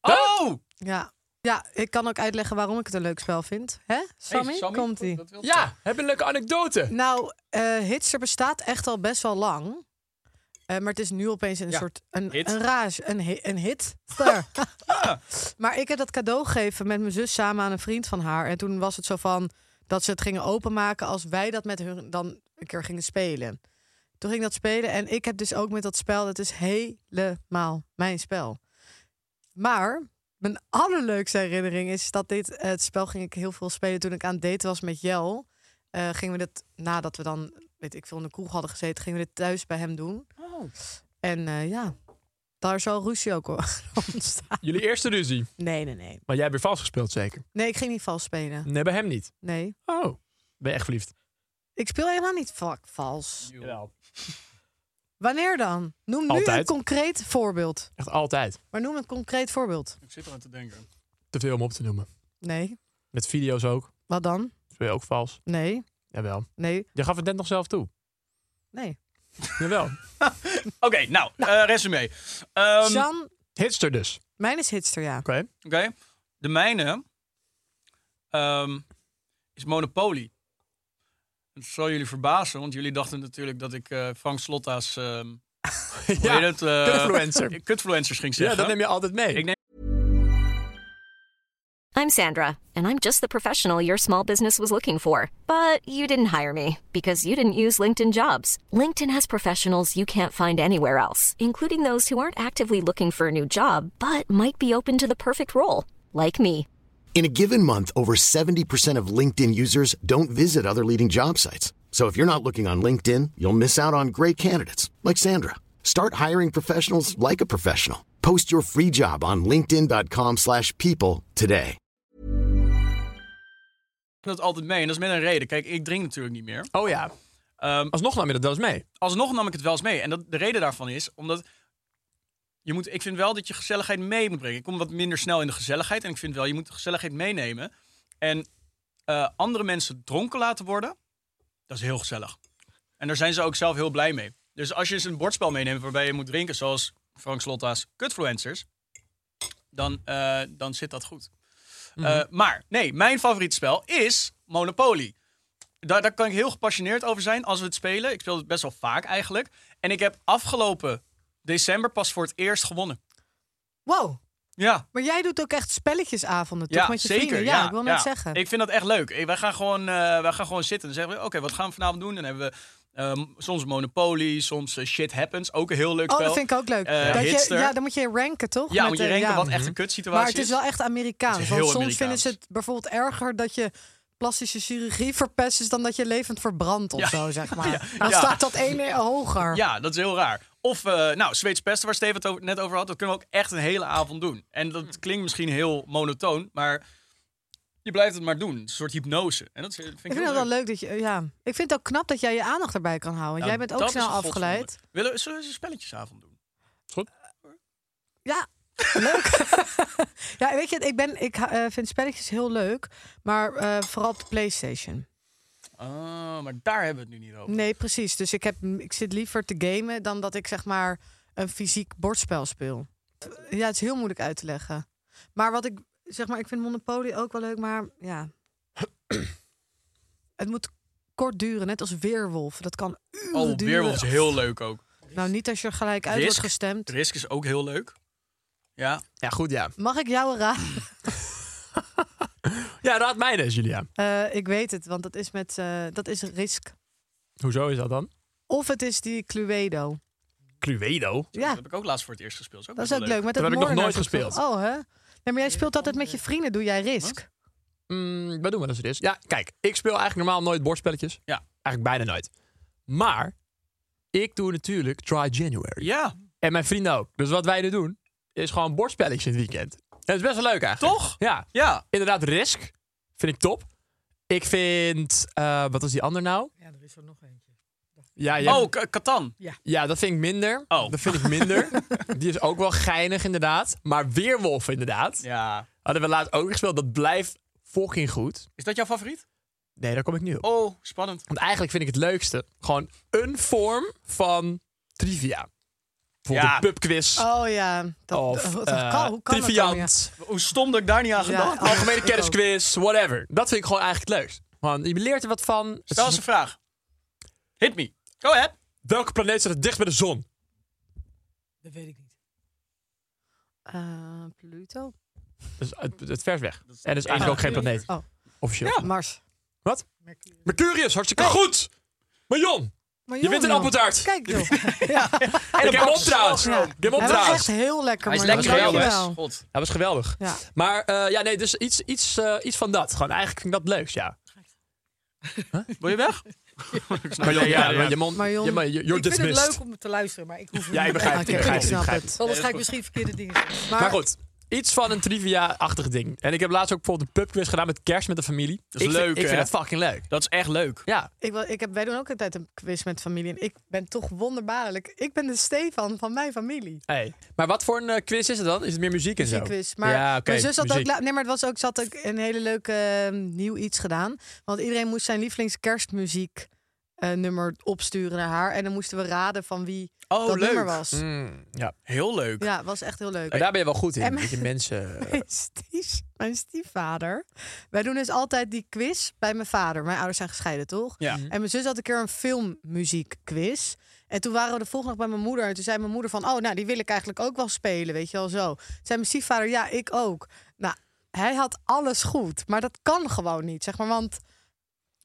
C: Oh!
A: Ja. ja, ik kan ook uitleggen waarom ik het een leuk spel vind. Hè, Sammy?
C: Sammy,
A: Komt-ie.
C: dat wil-
B: Ja, heb je een leuke anekdote?
A: Nou, eh Hitster bestaat echt al best wel lang. Eh, maar het is nu opeens een
C: Ja,
A: soort een,
C: hit.
A: een rage, een, hi- een hitster. maar ik heb dat cadeau gegeven met mijn zus samen aan een vriend van haar. En toen was het zo van dat ze het gingen openmaken als wij dat met hun dan een keer gingen spelen. Toen ging dat spelen en ik heb dus ook met dat spel, dat is helemaal mijn spel. Maar mijn allerleukste herinnering is dat dit eh, het spel ging ik heel veel spelen toen ik aan het daten was met Jel. Eh, gingen we dit nadat we dan, weet ik veel, in de kroeg hadden gezeten, gingen we dit thuis bij hem doen. En eh, ja, daar is al ruzie ook ontstaan.
B: Jullie eerste ruzie.
A: Nee, nee, nee.
B: Maar jij hebt weer vals gespeeld, zeker?
A: Nee, ik ging niet vals spelen.
B: Nee, bij hem niet.
A: Nee.
B: Oh, ben je echt verliefd?
A: Ik speel helemaal niet va- vals.
B: Jawel.
A: Wanneer dan? Noem nu
B: Altijd.
A: een concreet voorbeeld.
B: Echt altijd.
A: Maar noem een concreet voorbeeld.
C: Ik zit eraan te denken.
B: Te veel om op te noemen.
A: Nee.
B: Met video's ook.
A: Wat dan?
B: Speel je ook vals?
A: Nee.
B: Jawel.
A: Nee.
B: Je gaf het net nog zelf toe.
A: Nee.
B: Jawel.
C: Oké, nou, eh resume. Ehm,
A: Jan,
B: Hitster dus.
A: mijn is hitster, ja.
B: Oké.
C: Oké. De mijne ehm, is Monopoly. Het zal jullie verbazen, want jullie dachten natuurlijk dat ik eh, Frank Slotta's... ehm hoe heet het? eh,
B: kutfluencer.
C: Kutfluencers ging
B: Ja,
C: zeggen.
B: dat neem je altijd mee.
C: Ik neem-
F: I'm Sandra, and I'm just the professional your small business was looking for. But you didn't hire me because you didn't use LinkedIn jobs. LinkedIn has professionals you can't find anywhere else, including those who aren't actively looking for a new job but might be open to the perfect role, like me.
G: In a given month, over 70% of LinkedIn users don't visit other leading job sites. So if you're not looking on LinkedIn, you'll miss out on great candidates like Sandra. Start hiring professionals like a professional. Post your free job on linkedin.com/people slash people today.
C: dat altijd mee. En dat is met een reden. Kijk, ik drink natuurlijk niet meer.
B: Oh ja.
C: Ehm,
B: Alsnog nam je dat wel eens mee.
C: alsnog nam ik het wel eens mee. En dat, de reden daarvan is omdat. Je moet, ik vind wel dat je gezelligheid mee moet brengen. Ik kom wat minder snel in de gezelligheid. En ik vind wel, je moet de gezelligheid meenemen. En eh, andere mensen dronken laten worden, dat is heel gezellig. En daar zijn ze ook zelf heel blij mee. Dus als je eens een bordspel meeneemt waarbij je moet drinken, zoals Frank Slotta's Cutfluencers, dan, eh, dan zit dat goed. Eh, maar nee, mijn favoriete spel is Monopoly. Daar, daar kan ik heel gepassioneerd over zijn als we het spelen. Ik speel het best wel vaak eigenlijk. En ik heb afgelopen december pas voor het eerst gewonnen.
A: Wow.
C: Ja,
A: Maar jij doet ook echt spelletjesavonden, toch?
C: ja
A: met je
C: zeker.
A: vrienden.
C: ja,
A: ik wil
C: ja.
A: net zeggen.
C: Ik vind dat echt leuk. Eh, Wij gaan gewoon, eh, wij gaan gewoon zitten en zeggen: we, oké, wat gaan we vanavond doen? Dan hebben we ehm, soms Monopoly, soms eh, Shit Happens. Ook een heel leuk
A: Oh,
C: spel.
A: dat vind ik ook leuk.
C: Eh,
A: dat je,
C: Hitster.
A: ja, dan moet je ranken, toch?
C: ja,
A: Met,
C: moet je
A: eh,
C: renken
A: ja.
C: wat echt een kutsituatie
A: Maar het is wel echt Amerikaans.
C: Het is
A: want
C: heel
A: soms vinden
C: Amerikaans.
A: ze het bijvoorbeeld erger dat je plastische chirurgie verpest is dan dat je levend verbrandt of
C: Ja.
A: zo, zeg maar. Dan
C: ja.
A: staat dat één hoger.
C: Ja, dat is heel raar. Of, eh, nou, Zweeds pesten, waar Steven het over- net over had, dat kunnen we ook echt een hele avond doen. En dat klinkt misschien heel monotoon, maar je blijft het maar doen. Het is Een soort hypnose. En dat is- vind ik,
A: Ik
C: heel
A: vind het wel leuk dat je... Ja. Ik vind het ook knap dat jij je aandacht erbij kan houden.
C: Nou,
A: jij bent ook
C: dat
A: snel
C: is een
A: afgeleid.
C: godswonder. Willen, we- zullen we eens een spelletjesavond doen?
A: Ja, leuk. ja, weet je, ik, ben, ik eh, vind spelletjes heel leuk. Maar eh, vooral op de Playstation.
C: Oh, maar daar hebben we het nu niet over.
A: Nee, precies. Dus ik, heb, ik zit liever te gamen dan dat ik zeg maar een fysiek bordspel speel. Ja, het is heel moeilijk uit te leggen. Maar wat ik zeg maar, ik vind Monopoly ook wel leuk, maar ja. het moet kort duren, net als Weerwolf. Dat kan uren
C: Oh,
A: duren.
C: Weerwolf is heel leuk ook.
A: Nou, niet als je er gelijk uit wordt
C: Risk.
A: gestemd.
C: Risk is ook heel leuk. Ja.
B: Ja, goed, ja.
A: Mag ik jou raden?
B: Ja, raad mij dus, Julia.
A: Eh, ik weet het, want dat is met eh, dat is risk.
B: Hoezo is dat dan?
A: Of het is die Cluedo.
B: Cluedo?
A: Ja,
C: Dat heb ik ook laatst voor het eerst gespeeld.
A: dat is ook leuk. Met het
B: Dat heb ik nog nooit
A: moordenaarsgevoel.
B: gespeeld.
A: Oh, hè? Nee, maar jij speelt altijd met je vrienden. Doe jij risk?
B: Mm, wat doen we als het is? Ja, kijk, ik speel eigenlijk normaal nooit bordspelletjes.
C: Ja.
B: Eigenlijk bijna nooit. Maar ik doe natuurlijk Try January.
C: Ja,
B: En mijn vrienden ook. Dus wat wij nu doen, is gewoon bordspelletjes in het weekend. Dat is best wel leuk eigenlijk.
C: toch?
B: Ja,
C: Ja.
B: inderdaad, Risk vind ik top. Ik vind, eh, wat was die ander nou?
D: Ja, er is er nog eentje.
B: Ja, jij-
C: Oh, K- Catan.
B: ja, dat vind ik minder.
C: Oh.
B: Dat vind ik minder. die is ook wel geinig inderdaad. Maar Weerwolf inderdaad.
C: Ja.
B: Hadden we laatst ook gespeeld. Dat blijft fucking goed.
C: Is dat jouw favoriet?
B: Nee, daar kom ik nu op.
C: Oh, spannend.
B: Want eigenlijk vind ik het leukste gewoon een vorm van trivia. Bijvoorbeeld
C: Ja.
B: een pubquiz.
A: Oh ja. Dat,
B: of
A: wat-
B: eh,
A: kan- hoe kan dat dan, ja?
B: triviant.
C: Hoe stom dat ik daar niet aan
A: Ja.
C: gedacht had.
B: Algemene
A: Ik ook.
B: kennisquiz, whatever. Dat vind ik gewoon eigenlijk het leukst. Man, je leert er wat van. Het
C: Stel
B: is-
C: eens een vraag. Hit me. Go ahead.
B: Welke planeet staat het dicht bij de zon?
D: Dat weet ik niet.
A: Eh, Pluto.
B: Dus het, het vers weg.
C: is-
B: En dat is eigenlijk ook geen planeet.
A: Oh.
B: Officieel.
A: Mars.
B: Mercurius, hartstikke goed! Marion,
A: Maar
B: je wint een
A: joh,
B: appeltaart!
A: Kijk joh. ja.
B: ik heb hem op trouwens!
A: Ja.
B: Ik heb hem op
A: Hij was echt
B: trouwens!
A: heel lekker.
C: Hij is
A: maar
C: lekker
B: dat is
C: geweldig.
A: dankjewel.
C: God.
B: Hij was geweldig.
A: Ja.
B: Maar eh, ja, nee, dus iets, iets, eh, iets van dat. Gewoon eigenlijk vind ik dat leuk, ja.
C: Wil je weg?
B: Marion, ja,
C: ja.
B: Je mond,
A: Marion,
B: je, maar- je- you're
D: ik vind
B: dismissed.
D: het leuk om te luisteren, maar ik hoef het
B: Ja, ik
D: niet.
B: begrijp het.
A: Oké,
B: ik
A: ik
B: begrijp het, ik
A: snap
B: begrijp
A: het.
B: het.
D: Anders ga ik misschien verkeerde dingen zeggen.
B: Maar goed, iets van een trivia-achtig ding. En ik heb laatst ook bijvoorbeeld een pubquiz gedaan met kerst met de familie.
C: Dat is
B: ik
C: leuk,
B: vind, Ik
C: hè?
B: vind dat fucking leuk.
C: Dat is echt leuk.
B: Ja.
A: Ik, wil- ik heb, wij doen ook altijd een quiz met familie. En ik ben toch wonderbaarlijk. Ik ben de Stefan van mijn familie.
B: Hey. Maar wat voor een eh, quiz is het dan? Is het meer muziek en zo?
A: Muziekquiz. Maar
B: ja, oké.
A: mijn zus had ook,
B: muziek.
A: la- nee, maar het was ook, zat ook een hele leuke eh, nieuw iets gedaan. Want iedereen moest zijn lievelings kerstmuziek eh, nummer opsturen naar haar. En dan moesten we raden van wie
C: Oh,
A: dat
C: leuk.
A: nummer was.
B: Mm, ja.
C: Heel leuk.
A: Ja, was echt heel leuk.
B: En daar ben je wel goed
A: En
B: in.
A: mijn-
B: Dat je mensen... eh,
A: Mijn, stief, mijn stiefvader. Wij doen dus altijd die quiz bij mijn vader. Mijn ouders zijn gescheiden, toch?
C: Ja.
A: En mijn zus had een keer een filmmuziekquiz. En toen waren we de volgende dag bij mijn moeder. En toen zei mijn moeder van, oh, nou, die wil ik eigenlijk ook wel spelen, weet je wel zo. Toen zei mijn stiefvader, ja, ik ook. Nou, hij had alles goed. Maar dat kan gewoon niet, zeg maar. Want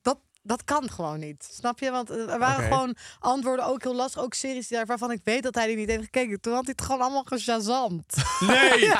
A: dat, dat kan gewoon niet, snap je? Want eh, er waren
B: Oké.
A: gewoon antwoorden ook heel lastig. Ook series die daar- waarvan ik weet dat hij die niet heeft gekeken. Toen had hij het gewoon allemaal gezazamd.
B: Nee!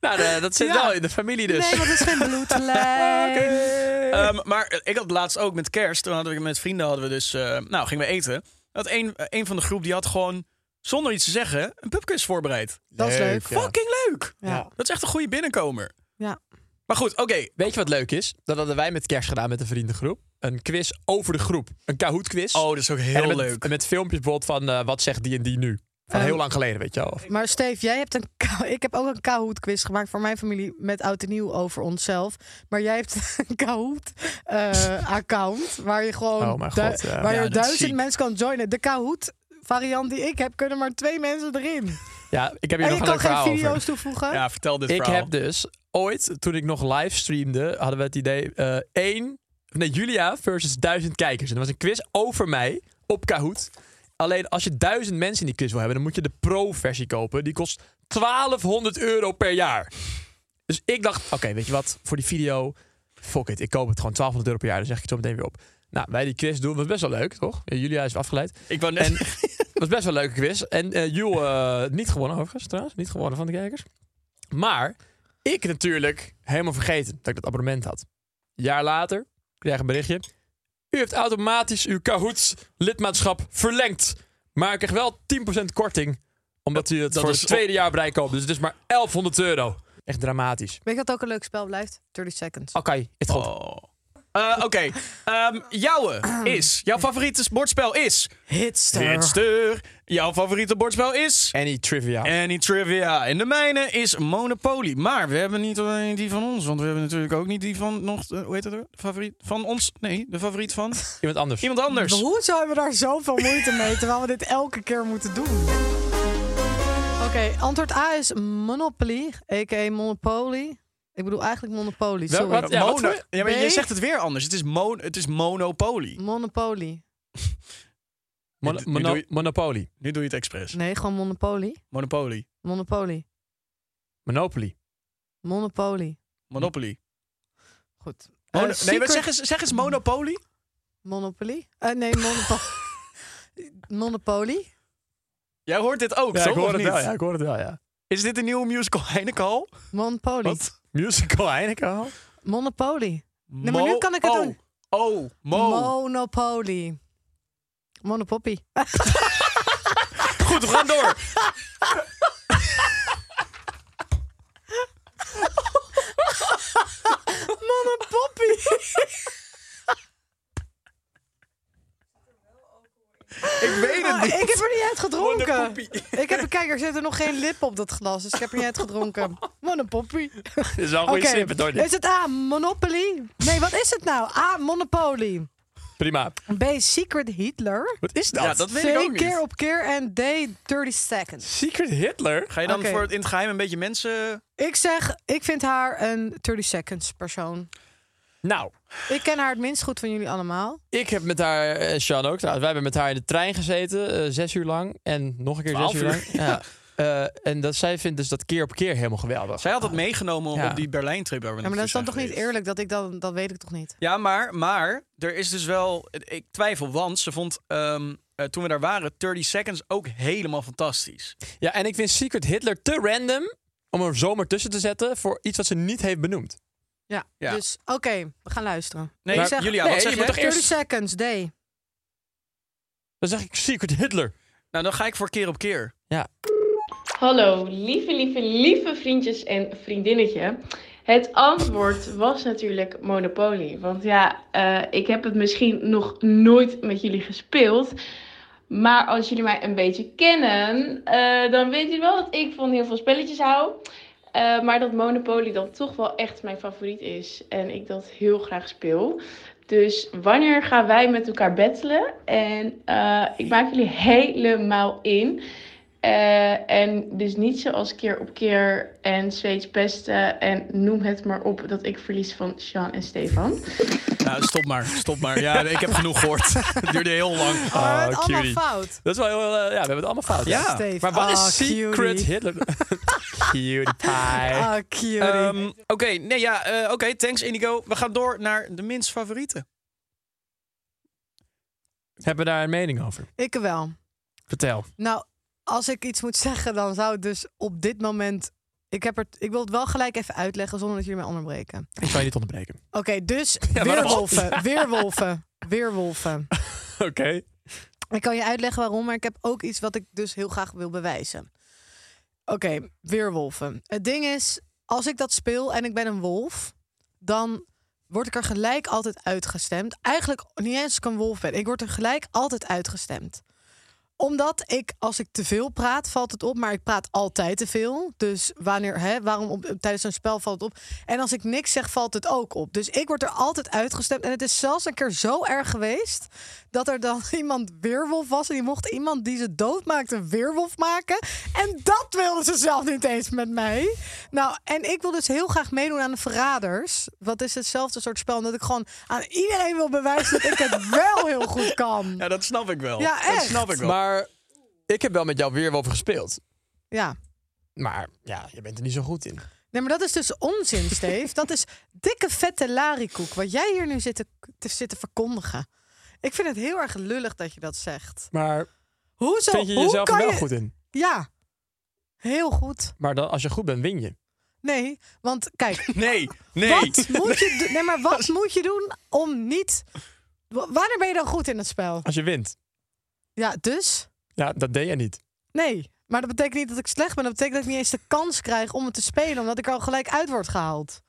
B: Nou, eh, dat zit
A: Ja.
B: wel in de familie dus.
A: Nee, want het is geen bloedlijn.
B: Ah,
C: Ehm, maar ik had laatst ook met kerst, toen hadden we met vrienden hadden we dus, eh, nou gingen we eten. Dat een, eh, een van de groep die had gewoon, zonder iets te zeggen, een pubquiz voorbereid.
A: Dat is leuk.
B: ja.
C: Fucking leuk!
A: Ja.
C: Dat is echt een goede binnenkomer.
A: Ja.
C: Maar goed, oké.
B: Weet je wat leuk is? Dat hadden wij met kerst gedaan met een vriendengroep. Een quiz over de groep. Een Kahoot-quiz.
C: Oh, dat is ook
B: En dan
C: heel
B: met,
C: leuk.
B: en met filmpjes bijvoorbeeld van eh, wat zegt die en die nu. Van
A: Ehm,
B: heel lang geleden, weet je wel. Of-
A: Maar Steve, jij hebt een kou- ik heb ook een Kahoot quiz gemaakt voor mijn familie met oud en nieuw over onszelf. Maar jij hebt een Kahoot eh, account waar je gewoon
B: Oh mijn
A: du-
B: God, ja.
A: waar
C: Ja,
A: je
C: dat is
A: duizend
C: ziek.
A: mensen kan joinen. De Kahoot variant die ik heb kunnen maar twee mensen erin.
B: Ja, ik heb hier
A: en
B: nog
A: Oh, je kan
B: een
A: geen
B: leuk verhaal over.
A: video's toevoegen.
C: Ja, vertel dit
B: Ik
C: verhaal.
B: heb dus ooit, toen ik nog live streamde, hadden we het idee eh één, nee, Julia versus duizend kijkers. En er was een quiz over mij op Kahoot. Alleen als je duizend mensen in die quiz wil hebben, dan moet je de pro-versie kopen. Die kost 1200 euro per jaar. Dus ik dacht, oké, weet je wat, voor die video, fuck it, ik koop het gewoon 1200 euro per jaar. Dan zeg ik het zo meteen weer op. Nou, wij die quiz doen, was best wel leuk, toch? Ja, Julia is afgeleid.
C: Ik wou net...
B: En het was best wel een leuke quiz. En eh Jules, eh, niet gewonnen overigens trouwens. Niet gewonnen van de kijkers. Maar ik natuurlijk helemaal vergeten dat ik dat abonnement had. Een jaar later krijg ik een berichtje. U heeft automatisch uw Kahoots lidmaatschap verlengd. Maar ik krijg wel 10% korting. Omdat u het
C: Dat
B: voor
C: is-
B: het tweede jaar bij koopt. Dus het is maar 1100 euro. Echt dramatisch.
A: Weet je wat ook een leuk spel blijft? 30 seconds.
B: Oké, het goed.
C: Oh. Eh, oké. Ehm, jouwe is, jouw favoriete bordspel is...
A: Hitster.
C: Hitster. Jouw favoriete bordspel is...
B: Any trivia.
C: En die trivia. En de mijne is Monopoly. Maar we hebben niet alleen die van ons. Want we hebben natuurlijk ook niet die van nog. eh, Hoe heet dat? er? Favoriet van ons? Nee, de favoriet van
B: Iemand anders.
C: iemand anders.
A: Hoezo hebben we daar zoveel moeite mee terwijl we dit elke keer moeten doen? Oké, antwoord A is Monopoly, a.k.a. Monopoly. Ik bedoel eigenlijk Monopoly,
B: Wel-
A: sorry.
B: wat- ja,
C: Mono-
B: voor-
C: ja, maar
A: Nee.
C: je zegt het weer anders. Het is, mon het is monopolie.
A: Monopoly.
B: Mon-
C: Nu- nu
B: mono-
C: doe je-
B: Monopoly.
C: Nu doe je het expres.
A: Nee, gewoon Monopoly.
C: Monopolie.
A: Monopoly.
B: Monopoly.
A: Monopoly.
C: Monopolie.
A: Goed. Eh,
C: Mono- nee, maar
A: Secret-
C: zeg eens, zeg eens monopolie.
A: Monopoly? Eh, nee, Monopoly. Monopoly?
C: Jij hoort dit ook,
B: Ja,
C: toch?
B: ik hoor
C: Of
B: het
C: niet?
B: wel. Ja, ik hoor het wel, ja.
C: Is dit een nieuwe musical Heinekal?
A: Monopoly.
C: Wat?
B: Musical Heineken al?
A: Monopoly. Nee, maar nu
C: Mo-
A: kan ik het
C: oh.
A: doen.
C: Oh, mo.
A: Monopoly. Monopoppy.
C: Goed, we gaan door.
A: Monopoppy.
C: ik weet het
A: Ah,
C: niet.
A: ik heb er niet uit gedronken.
C: Monopoppy.
A: Ik heb, kijk, er zit er nog geen lip op dat glas, dus ik heb er niet uit gedronken. Monopoppy.
B: Dit is wel een
A: Oké,
B: goede snippet, hoor. dit.
A: is het A, Monopoly? Nee, wat is het nou? A, Monopoly.
B: Prima.
A: B, Secret Hitler.
B: Wat is dat?
C: Ja, dat weet ik
A: C,
C: ook
A: keer
C: niet.
A: op keer. En D, 30 seconds.
B: Secret Hitler?
C: Ga je dan
A: Oké.
C: voor het in het geheim een beetje mensen...
A: Ik zeg, ik vind haar een 30 seconds persoon.
B: Nou,
A: Ik ken haar het minst goed van jullie allemaal.
B: ik heb met haar, eh, Sjan ook trouwens, wij hebben met haar in de trein gezeten, eh, zes uur lang. En nog een keer
C: Twaalf
B: zes uur
C: uur.
B: lang. Ja. Eh, en dat, zij vindt dus dat keer op keer helemaal geweldig.
C: Zij had dat meegenomen
B: Ja.
C: op die Berlijn-trip waar we
A: Ja, maar dat is dan
C: naartoe
A: toch
C: zijn
A: niet
C: geweest.
A: eerlijk dat ik dan, dat weet ik toch niet.
C: Ja, maar, maar er is dus wel... Ik twijfel, want ze vond ehm, eh, toen we daar waren 30 Seconds ook helemaal fantastisch.
B: Ja, en ik vind Secret Hitler te random om er zomaar tussen te zetten voor iets wat ze niet heeft benoemd.
A: Ja,
C: Ja.
A: dus oké, we gaan luisteren.
C: Nee,
B: Maar-
C: Julia,
B: nee,
C: wat
B: je
C: zeg je?
B: moet toch
A: 30
B: eerst-
A: seconds, D.
B: Dan zeg ik Secret Hitler.
C: Nou, dan ga ik voor keer op keer.
B: Ja.
E: Hallo, lieve, lieve, lieve vriendjes en vriendinnetje. Het antwoord was natuurlijk Monopoly. Want ja, eh, ik heb het misschien nog nooit met jullie gespeeld. Maar als jullie mij een beetje kennen, eh, dan weten jullie wel dat ik van heel veel spelletjes hou. Eh, maar dat Monopoly dan toch wel echt mijn favoriet is. En ik dat heel graag speel. Dus wanneer gaan wij met elkaar battelen? En eh, ik maak jullie helemaal in. Eh, en dus niet zoals keer op keer en Zweeds pesten en noem het maar op dat ik verlies van Sean en Stefan.
C: Nou, stop maar, stop maar. Ja, ik heb genoeg gehoord. Het duurde heel
A: Oh,
C: lang.
A: het
B: Oh,
A: allemaal
B: cutie.
A: fout.
B: Dat is wel heel... eh, ja, we hebben het allemaal fout.
C: Ja.
A: Steve.
B: Maar wat
A: Ah,
B: is Secret
A: cutie.
B: Hitler? cutie pie.
A: Ah, cutie.
C: Ehm, oké, nee, ja, eh, oké, thanks Indigo. We gaan door naar de minst favoriete.
B: Hebben we daar een mening over?
A: ik wel.
B: Vertel.
A: Nou, als ik iets moet zeggen, dan zou het dus op dit moment... Ik, heb er, ik wil het wel gelijk even uitleggen zonder dat jullie mij onderbreken.
B: Ik zal je niet onderbreken.
A: Oké, dus
B: maar dat-
A: weerwolven, weerwolven, weerwolven.
B: Oké.
A: Ik kan je uitleggen waarom, maar ik heb ook iets wat ik dus heel graag wil bewijzen. Oké, weerwolven. Het ding is, als ik dat speel en ik ben een wolf, dan word ik er gelijk altijd uitgestemd. Eigenlijk niet eens als ik een wolf ben, ik word er gelijk altijd uitgestemd. Omdat ik, als ik te veel praat, valt het op, maar ik praat altijd te veel. Dus wanneer, hè, waarom op, tijdens zo'n spel valt het op? En als ik niks zeg, valt het ook op. Dus ik word er altijd uitgestemd. En het is zelfs een keer zo erg geweest dat er dan iemand weerwolf was. En die mocht iemand die ze dood maakte een weerwolf maken. En dat wilden ze zelf niet eens met mij. Nou, en ik wil dus heel graag meedoen aan de verraders. Wat is hetzelfde soort spel? Omdat ik gewoon aan iedereen wil bewijzen dat ik het wel heel goed kan.
C: Ja, dat snap ik wel.
A: Ja,
C: Dat
A: echt.
C: snap ik wel.
B: Maar ik heb wel met jou weerwolven gespeeld.
A: Ja.
B: Maar ja, je bent er niet zo goed in.
A: Nee, maar dat is dus onzin, Steve. Dat is dikke vette larikoek. Wat jij hier nu zit te, te zitten verkondigen. Ik vind het heel erg lullig dat je dat zegt.
B: Maar
A: Hoezo?
B: vind je
A: Hoe
B: jezelf er
A: kan
B: wel
A: je-
B: goed in?
A: Ja. Heel goed.
B: Maar dan, als je goed bent, win je.
A: Nee, want kijk,
C: Nee, nee.
A: wat moet je doen? Nee, maar wat moet je doen om niet. Wa- Wanneer ben je dan goed in het spel?
B: Als je wint.
A: Ja, dus?
B: Ja, dat deed je niet.
A: Nee. Maar dat betekent niet dat ik slecht ben. Dat betekent dat ik niet eens de kans krijg om het te spelen, omdat ik er al gelijk uit word gehaald.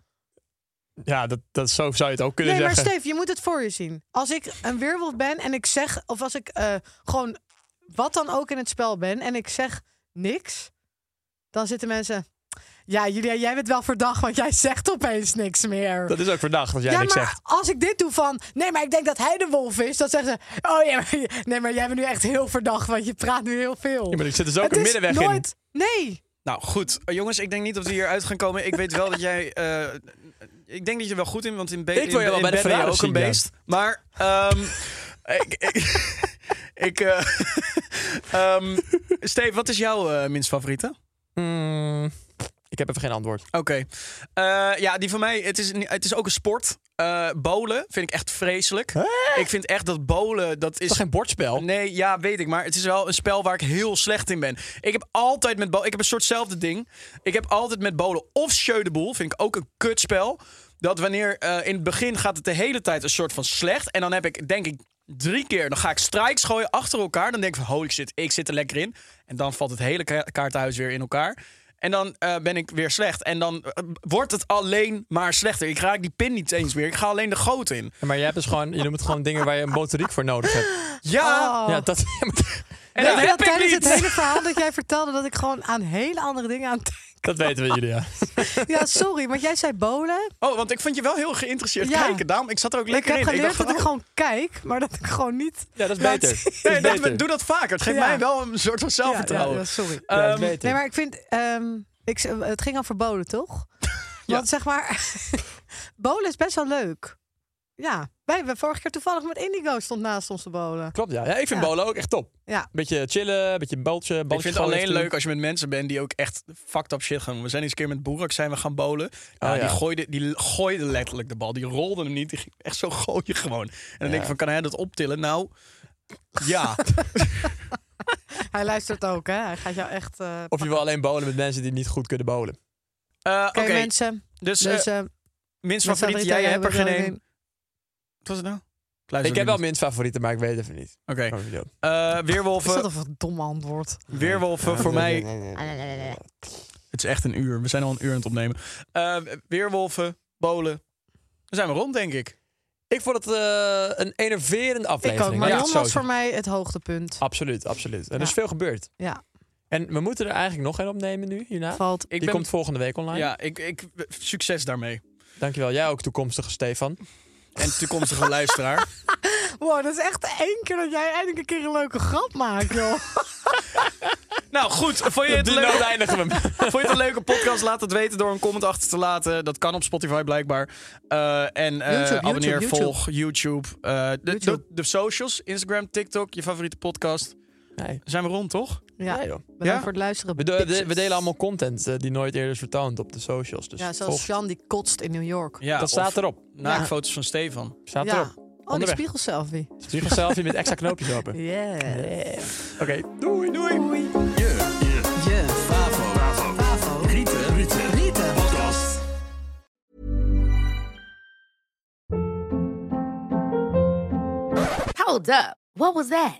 B: Ja, dat, dat, zo zou je het ook kunnen
A: nee,
B: zeggen.
A: maar Steve, je moet het voor je zien. Als ik een weerwolf ben en ik zeg, of als ik eh, gewoon wat dan ook in het spel ben en ik zeg niks, dan zitten mensen. Ja, Julia, jij bent wel verdacht, want jij zegt opeens niks meer.
B: Dat is ook verdacht als jij
A: ja,
B: niks
A: maar
B: zegt.
A: als ik dit doe van... Nee, maar ik denk dat hij de wolf is. Dan zeggen ze... Oh ja, maar, nee, maar jij bent nu echt heel verdacht, want je praat nu heel veel.
B: Ja, maar er zit dus ook
A: Het
B: een
A: is
B: middenweg in.
A: nooit, Nee.
C: Nou goed, Eh, jongens, ik denk niet dat we hier uit gaan komen. Ik weet wel dat jij. eh, ik denk dat je er wel goed in, want in B.
B: Ik wil je
C: in-
B: wel bij de
C: in bed ben je
B: Ferrari
C: ook
B: zien,
C: een
B: ja.
C: beest. Maar ehm, ik. ik, ik eh, ehm, Steve, wat is jouw eh, minst favoriete?
B: Mm, ik heb even geen antwoord.
C: Oké. Eh, ja, die van mij, het is, niet- het is ook een sport. Eh bolen vind ik echt vreselijk. Ik vind echt dat bolen, dat
B: Is
C: is
B: toch geen bordspel?
C: Nee, ja, weet ik. Maar het is wel een spel waar ik heel slecht in ben. Ik heb altijd met bolen... Ik heb een soortzelfde ding. Ik heb altijd met bolen of Sjeu de boel. Vind ik ook een kutspel. Dat wanneer... eh, in het begin gaat het de hele tijd een soort van slecht. En dan heb ik, denk ik, drie keer... Dan ga ik strikes gooien achter elkaar. Dan denk ik van, holy shit, ik zit er lekker in. En dan valt het hele ka- kaartenhuis weer in elkaar. En dan eh, ben ik weer slecht. En dan eh, wordt het alleen maar slechter. Ik raak die pin niet eens meer. Ik ga alleen de goot in.
B: Maar jij hebt dus gewoon, je noemt gewoon dingen waar je een motoriek voor nodig hebt.
C: Ja!
A: Oh.
B: Ja, dat...
C: En
A: Weet
C: dat
A: je
C: heb ik
A: tijdens
C: niet.
A: het hele verhaal dat jij vertelde... dat ik gewoon aan hele andere dingen aan...
B: dat weten we, Julia.
A: Ja, sorry, want jij zei bolen.
C: Oh, want ik vond je wel heel geïnteresseerd
A: Ja.
C: kijken, Dam. Ik zat er ook
A: Ik
C: lekker
A: heb
C: in.
A: geleerd
C: dacht
A: dat
C: van,
A: ik
C: oh,
A: gewoon kijk, maar dat ik gewoon niet...
B: Ja, dat is
A: Laat-
B: beter.
C: Nee,
B: Dat
C: dat
B: is beter.
C: doe dat vaker. Het geeft
A: Ja.
C: mij wel een soort van
A: ja,
C: zelfvertrouwen.
A: ja, sorry.
B: Ja, dat is
C: Ehm,
B: beter.
A: Nee, maar ik vind... ehm, ik, z- het ging over bolen, toch? Want zeg maar... bolen is best wel leuk. Ja, wij hebben vorige keer toevallig met Indigo stond naast ons te bolen.
B: Klopt, ja. ja ik vind
A: Ja.
B: bolen ook echt top.
A: Ja.
B: Beetje chillen, beetje bootje.
C: ik vind het alleen leuk als je met mensen bent die ook echt fucked up shit gaan doen. We zijn eens een keer met Boerak zijn we gaan bowlen. Ja,
B: Oh, ja.
C: die, gooide, die gooide letterlijk de bal. Die rolde hem niet. Die ging echt zo gooien gewoon. En dan denk ik van, kan hij dat optillen? Nou, ja.
A: Hij luistert ook, hè? Hij gaat jou echt... eh,
B: Of je wil alleen bolen met mensen die niet goed kunnen bolen.
C: Eh,
A: Oké,
C: Oké,
A: mensen.
C: dus, eh,
A: Dus, eh,
C: minst
A: mensen
C: favoriet, jij
A: Rita,
C: hebt er
A: jij
C: geen
A: hebt
C: één. Wat was het nou? Ik luister
B: Ik heb wel
C: ook
B: minst favorieten, maar ik weet even niet.
C: niet. Oké,
B: Oh, video.
C: Eh,
A: Is dat
C: weerwolven.
A: een domme antwoord?
C: Weerwolven voor mij
A: Nee,
C: Het is echt een uur. We zijn al een uur aan het opnemen. Eh, weerwolven, bolen. Dan zijn we rond, denk ik.
B: Ik vond het eh, een enerverende
A: Ik ook.
B: aflevering.
A: Maar
B: Ja,
A: Jon
B: zo
A: was
B: is
A: voor
B: het. Ah.
A: mij het hoogtepunt.
B: Absoluut, absoluut. En er is
A: Ja.
B: veel gebeurd.
A: Ja,
B: En we moeten er eigenlijk nog één opnemen nu, hierna.
A: valt.
C: Ik
B: Die
C: ben-
B: komt volgende week online.
C: Ja, ik, ik, succes daarmee.
B: Dankjewel. Jij ook, toekomstige Stefan.
C: En toekomstige luisteraar.
A: Wow, dat is echt één keer dat jij eindelijk een keer een leuke grap maakt, joh.
C: Nou goed, vond je,
B: Op
C: het
B: die
C: leuk?
B: noot eindigen we hem.
C: vond je het een leuke podcast? Laat het weten door een comment achter te laten. Dat kan op Spotify blijkbaar. Eh, en eh,
A: YouTube, YouTube,
C: abonneer,
A: YouTube.
C: volg, YouTube. Eh, de,
A: YouTube.
C: De, de socials, Instagram, TikTok, je favoriete podcast.
B: Nee.
C: Zijn we rond, toch?
A: Ja,
B: Nee,
A: bedankt
B: joh.
C: Ja?
A: voor het luisteren.
B: We, de- we
A: bitches.
B: delen allemaal content eh, die nooit eerder is vertoond op de socials. Dus
A: Ja,
B: volg-
A: zoals Jan die kotst in New York.
C: Ja,
B: dat staat erop.
C: Naakfoto's van Stefan.
B: Staat
A: Ja.
B: erop.
A: Oh, die
B: Onderweg.
A: spiegelselfie.
B: Stuur een selfie met extra knoopjes open.
A: Yeah.
B: Oké, doei. Doei.
A: Yeah. Favo. Favo. Rieten. Rieten.
H: Hold up. What was that?